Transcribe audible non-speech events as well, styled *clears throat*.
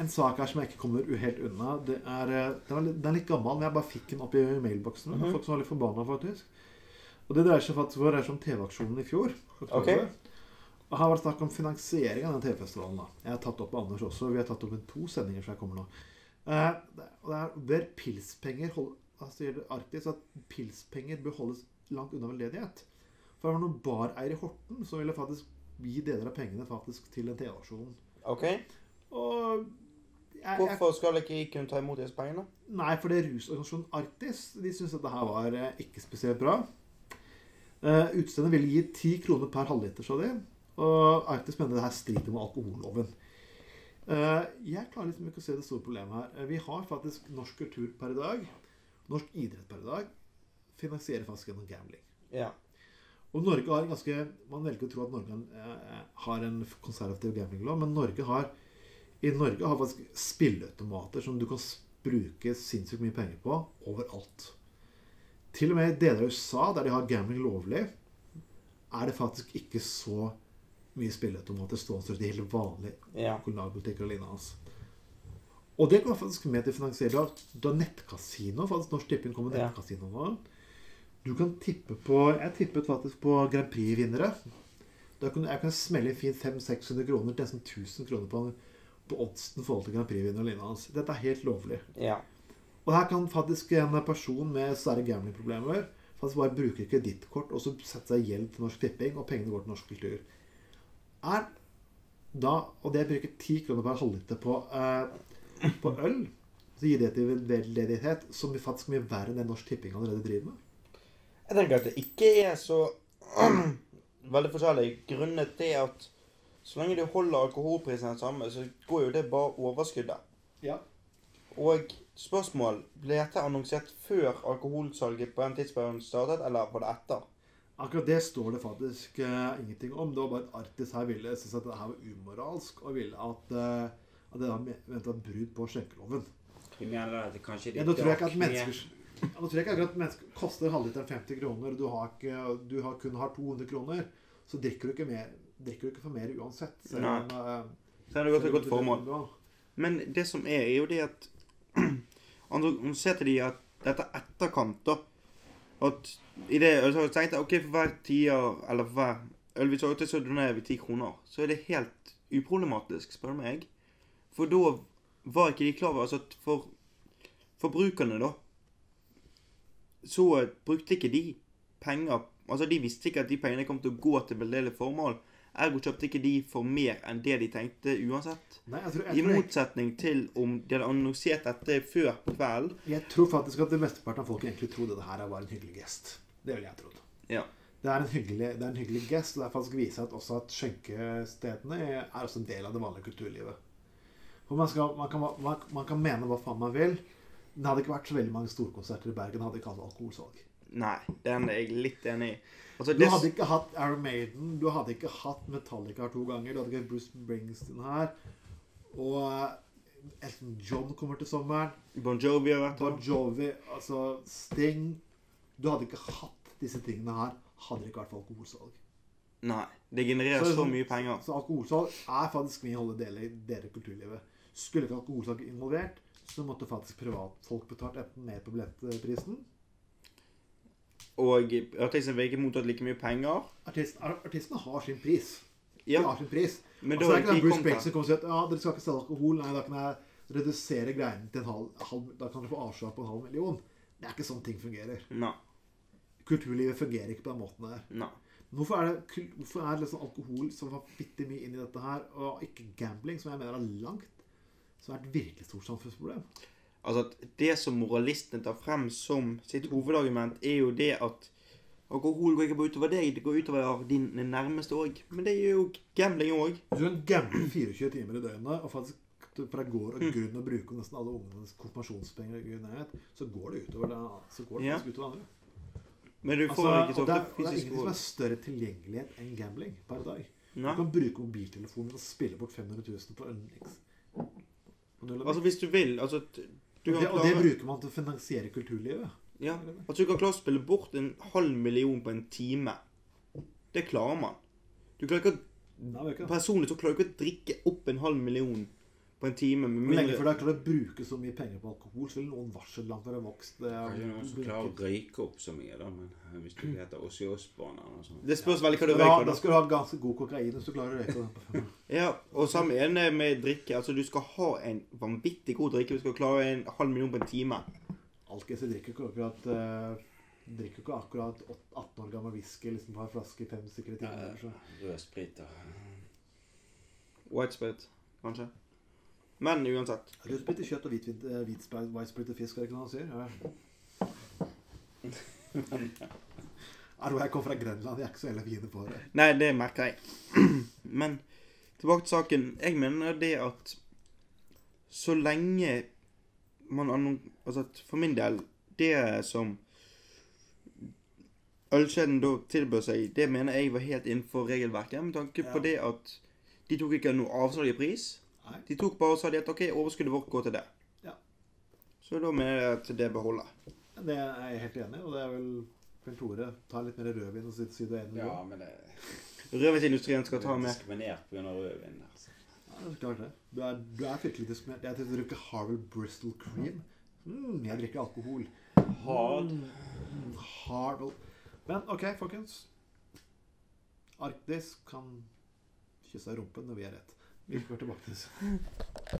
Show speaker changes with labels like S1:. S1: En sak her som jeg ikke kommer helt unna. Det er, eh, den, er litt, den er litt gammel, men jeg bare fikk den opp i mailboksen. Det er Folk som var litt forbanna, faktisk. Og Det dreier seg faktisk det dreier seg om TV-aksjonen i fjor. oktober.
S2: Ok.
S1: Og Her var det snakk om finansiering av den TV-festivalen. da. Jeg har tatt opp Anders også. Vi har tatt opp en to sendinger, så jeg kommer nå. Eh, det, og det er Bør pilspenger hold, altså gjelder Arktis at pilspenger bør holdes langt unna veldedighet? For det var noen bareier i Horten som ville faktisk gi deler av pengene faktisk til den TV-aksjonen.
S2: OK.
S1: Og jeg, jeg,
S2: Hvorfor skal ikke jeg kunne ta imot disse pengene?
S1: Nei, for det er rusorganisasjonen Arktis. De syntes at det her var eh, ikke spesielt bra. Uh, Utestedet ville gi 10 kroner per halvliter, sa de. Og Arktis mener det her strider mot alkoholloven. Eh, jeg klarer liksom ikke å se det store problemet her. Eh, vi har faktisk norsk kultur per i dag. Norsk idrett per i dag finansierer faktisk gjennom gambling.
S2: Ja.
S1: Og Norge har en ganske, Man velger å tro at Norge eh, har en konservativ gamblinglov, men Norge har i Norge har faktisk spilleautomater som du kan s- bruke sinnssykt mye penger på overalt. Til og med i deler av USA, der de har gambling lovlig, er det faktisk ikke så mye spilleautomater stående i helt vanlige
S2: ja.
S1: kolonialbutikker og lignende. altså. Og det går faktisk med til finansiering. Du har nettkasino. faktisk Norsk Tipping kommer med
S2: Ja.
S1: nettkasino nå. Du kan tippe på Jeg tippet faktisk på Grand Prix-vinnere. Da kan, jeg kan smelle inn fint 500-600 kroner, nesten 1000 kroner på, på oddsen i forhold til Grand Prix-vinner og lignende. altså. Dette er helt lovlig.
S2: ja.
S1: Og her kan faktisk en person med svære gamblingproblemer faktisk bare bruke kredittkort og så sette seg i gjeld til Norsk Tipping, og pengene går til norsk kultur. Er da, og det bruker 10 kroner per halvliter på, eh, på øl, så gir det til veldedighet, som er faktisk mye verre enn det Norsk Tipping allerede driver med.
S2: Jeg tenker at det ikke er så *clears throat* veldig forskjellig. Grunnet til at så lenge du holder alkoholprisen den samme, så går jo det bare overskuddet.
S1: Ja.
S2: Og spørsmål Ble dette annonsert før alkoholsalget på den tidsperioden startet, eller var det etter?
S1: Akkurat det står det faktisk eh, ingenting om. Det var bare at Arktis her ville synes at det her var umoralsk, og ville at, eh, at det da me- mente var brudd på skjenkeloven.
S3: Vi mener at det kanskje
S1: Ja, da tror jeg ikke at mennesker ja, Da tror jeg ikke akkurat at mennesker koster halvliteren 50 kroner, og du, har ikke, du har, kun har 200 kroner, så drikker du ikke, mer, drikker du ikke for mer uansett. selv
S2: Nei.
S1: om, eh,
S2: Det hadde vært
S1: selv om
S2: et godt
S1: du-
S2: formål. Men det som er, er jo det at *clears throat* Annonserte de at dette er etterkant, da? At i det altså, jeg tenkte OK, for hver tier eller for hver øl vi solgte, så donerer vi ti kroner. Så er det helt uproblematisk, spør du meg. For da var ikke de klar over altså, at for forbrukerne, da Så eh, brukte ikke de penger Altså, de visste ikke at de pengene kom til å gå til veldedige formål. Ergo kjøpte ikke de for mer enn det de tenkte uansett.
S1: Nei, jeg tror,
S2: I
S1: jeg, tror,
S2: motsetning til om de hadde annonsert dette før på kvelden.
S1: jeg tror faktisk at det mesteparten av folk egentlig trodde det her var en hyggelig gest. Det ville jeg trodd.
S2: Ja.
S1: Det er en hyggelig, det er en hyggelig gest, og det er faktisk viser at også at skjenkestedene er også en del av det vanlige kulturlivet. For man, skal, man, kan, man, man kan mene hva faen man vil. Det hadde ikke vært så veldig mange storkonserter i Bergen hadde ikke hatt alkoholsalg.
S2: Nei, den er jeg litt enig i. Altså,
S1: Du
S2: det,
S1: hadde ikke hatt Iron Maiden, du hadde ikke hatt Metallica her to ganger, du hadde ikke hatt Bruce Springsteen her. Og eh, Elton John kommer til sommeren.
S2: Bon Jovi har vært
S1: Bon
S2: her.
S1: Jovi, altså Sting Du hadde ikke hatt disse tingene her, hadde det ikke vært for alkoholsalg.
S2: Nei. Det genererer
S1: Så- sånn-
S2: så mye penger.
S1: Så alkoholsalg er faktisk mye å holde del i dere kulturlivet. Skulle ikke alkoholsalg involvert, så måtte faktisk privatfolk betalt enten mer på billettprisen
S2: Og artisten vil ikke mottatt like mye penger.
S1: Artist, ar- Artistene har sin pris. De
S2: Ja,
S1: har sin pris.
S2: men
S1: altså, det er
S2: da er
S1: ikke
S2: de
S1: da Bruce
S2: kommet
S1: Springsteen kommer og sier at ja, dere skal ikke selge alkohol. Nei, da kan jeg redusere greiene til en halv, halv Da kan dere få avslag på en halv million. Det er ikke sånn ting fungerer.
S2: Nei.
S1: Kulturlivet fungerer ikke på den måten der.
S2: nei.
S1: Men Hvorfor er, det, kul- hvorfor er det liksom alkohol som var bitte mye inn i dette her, og ikke gambling, som jeg mener er langt Som er et virkelig stort samfunnsproblem?
S2: Altså, at det som moralistene tar frem som sitt hovedargument, er jo det at alkohol går ikke bare utover deg, det går utover dine nærmeste òg. Men det gjør jo gambling òg.
S1: Du kan gamble 24 timer i døgnet, og faktisk fra gård og grunn å bruke nesten alle ungenes konfirmasjonspenger, og gud nærhet, så går det utover det, så går det
S2: Ja.
S1: faktisk utover andre.
S2: Men du får
S1: Altså,
S2: ikke så
S1: og det,
S2: ofte
S1: er, og det er
S2: fysisk
S1: ingenting som er
S2: vold.
S1: større tilgjengelighet enn gambling per dag. Du
S2: Nei.
S1: kan bruke mobiltelefonen og spille bort 500 000 på Unix. Og det,
S2: Altså, hvis du vil, altså t- du
S1: og
S2: kan
S1: det, og det
S2: klare,
S1: bruker man til å finansiere kulturlivet.
S2: ja, at du kan klare å spille bort en halv million på en time. Det klarer man. Du klarer ikke å,
S1: Nei, det er ikke det.
S2: personlig så klarer du ikke å drikke opp en halv million på en time.
S1: Men
S2: Med
S1: lenge
S2: mindre,
S1: før det er klart å bruke så mye penger på alkohol, så vil noen varsel langt når det har vokst. eh, Det er-
S3: Kanskje noen som klarer å røyke opp så mye, da. Men eh, hvis
S2: Mm.
S3: du heter Ossi Osborn eller noe sånt.
S2: det spørs veldig hva du
S1: da,
S2: røyker.
S1: da
S2: da.
S1: skal du ha ganske god kokain hvis du klarer å røyke den. på fem år.
S2: Ja, og samme er det med drikke. Altså, du skal ha en vanvittig god drikke. Du skal klare en halv million på en time.
S1: Alkiser drikker ikke akkurat eh, drikker ikke akkurat åt- 18 år gammel whisky liksom har en flaske i fem stykker i timen. eller så.
S3: Rød sprit og
S2: White spirit, kanskje. Men uansett.
S1: Rødsprit til kjøtt og hvit, hvit, eh, hvitsprit- whitesprit til fisk, er det ikke noe han sier? Ja. *laughs* Arro, jeg kommer fra Grenland, jeg er ikke så jævla fine på det.
S2: Nei, det merker jeg. *clears throat* Men tilbake til saken. Jeg mener det at så lenge man annon... Altså at for min del, det som ølkjeden da tilbød seg, det mener jeg var helt innenfor regelverket. Med tanke på
S1: Ja.
S2: det at de tok ikke noe avslag i pris.
S1: Nei.
S2: De tok bare og sa de at OK, overskuddet vårt går til det.
S1: Ja.
S2: Så da mener jeg at det beholder.
S1: Det er jeg helt enig i, og det er vel Bjørn Tore tar litt mer rødvin og sier sier det ene.
S3: Ja, men det
S2: Rødvinsindustrien skal
S3: er
S2: ta med
S3: diskriminert pga. rødvin. Altså.
S1: Ja, det er klart det. Du er, du er fryktelig diskriminert. Jeg tenkte å drikke Harvel Bristol Cream. Mm, jeg drikker alkohol.
S3: Hard.
S1: Mm, Harvel. Men OK, folkens. Arktis kan kysse rumpen når vi er rett. Vi går tilbake til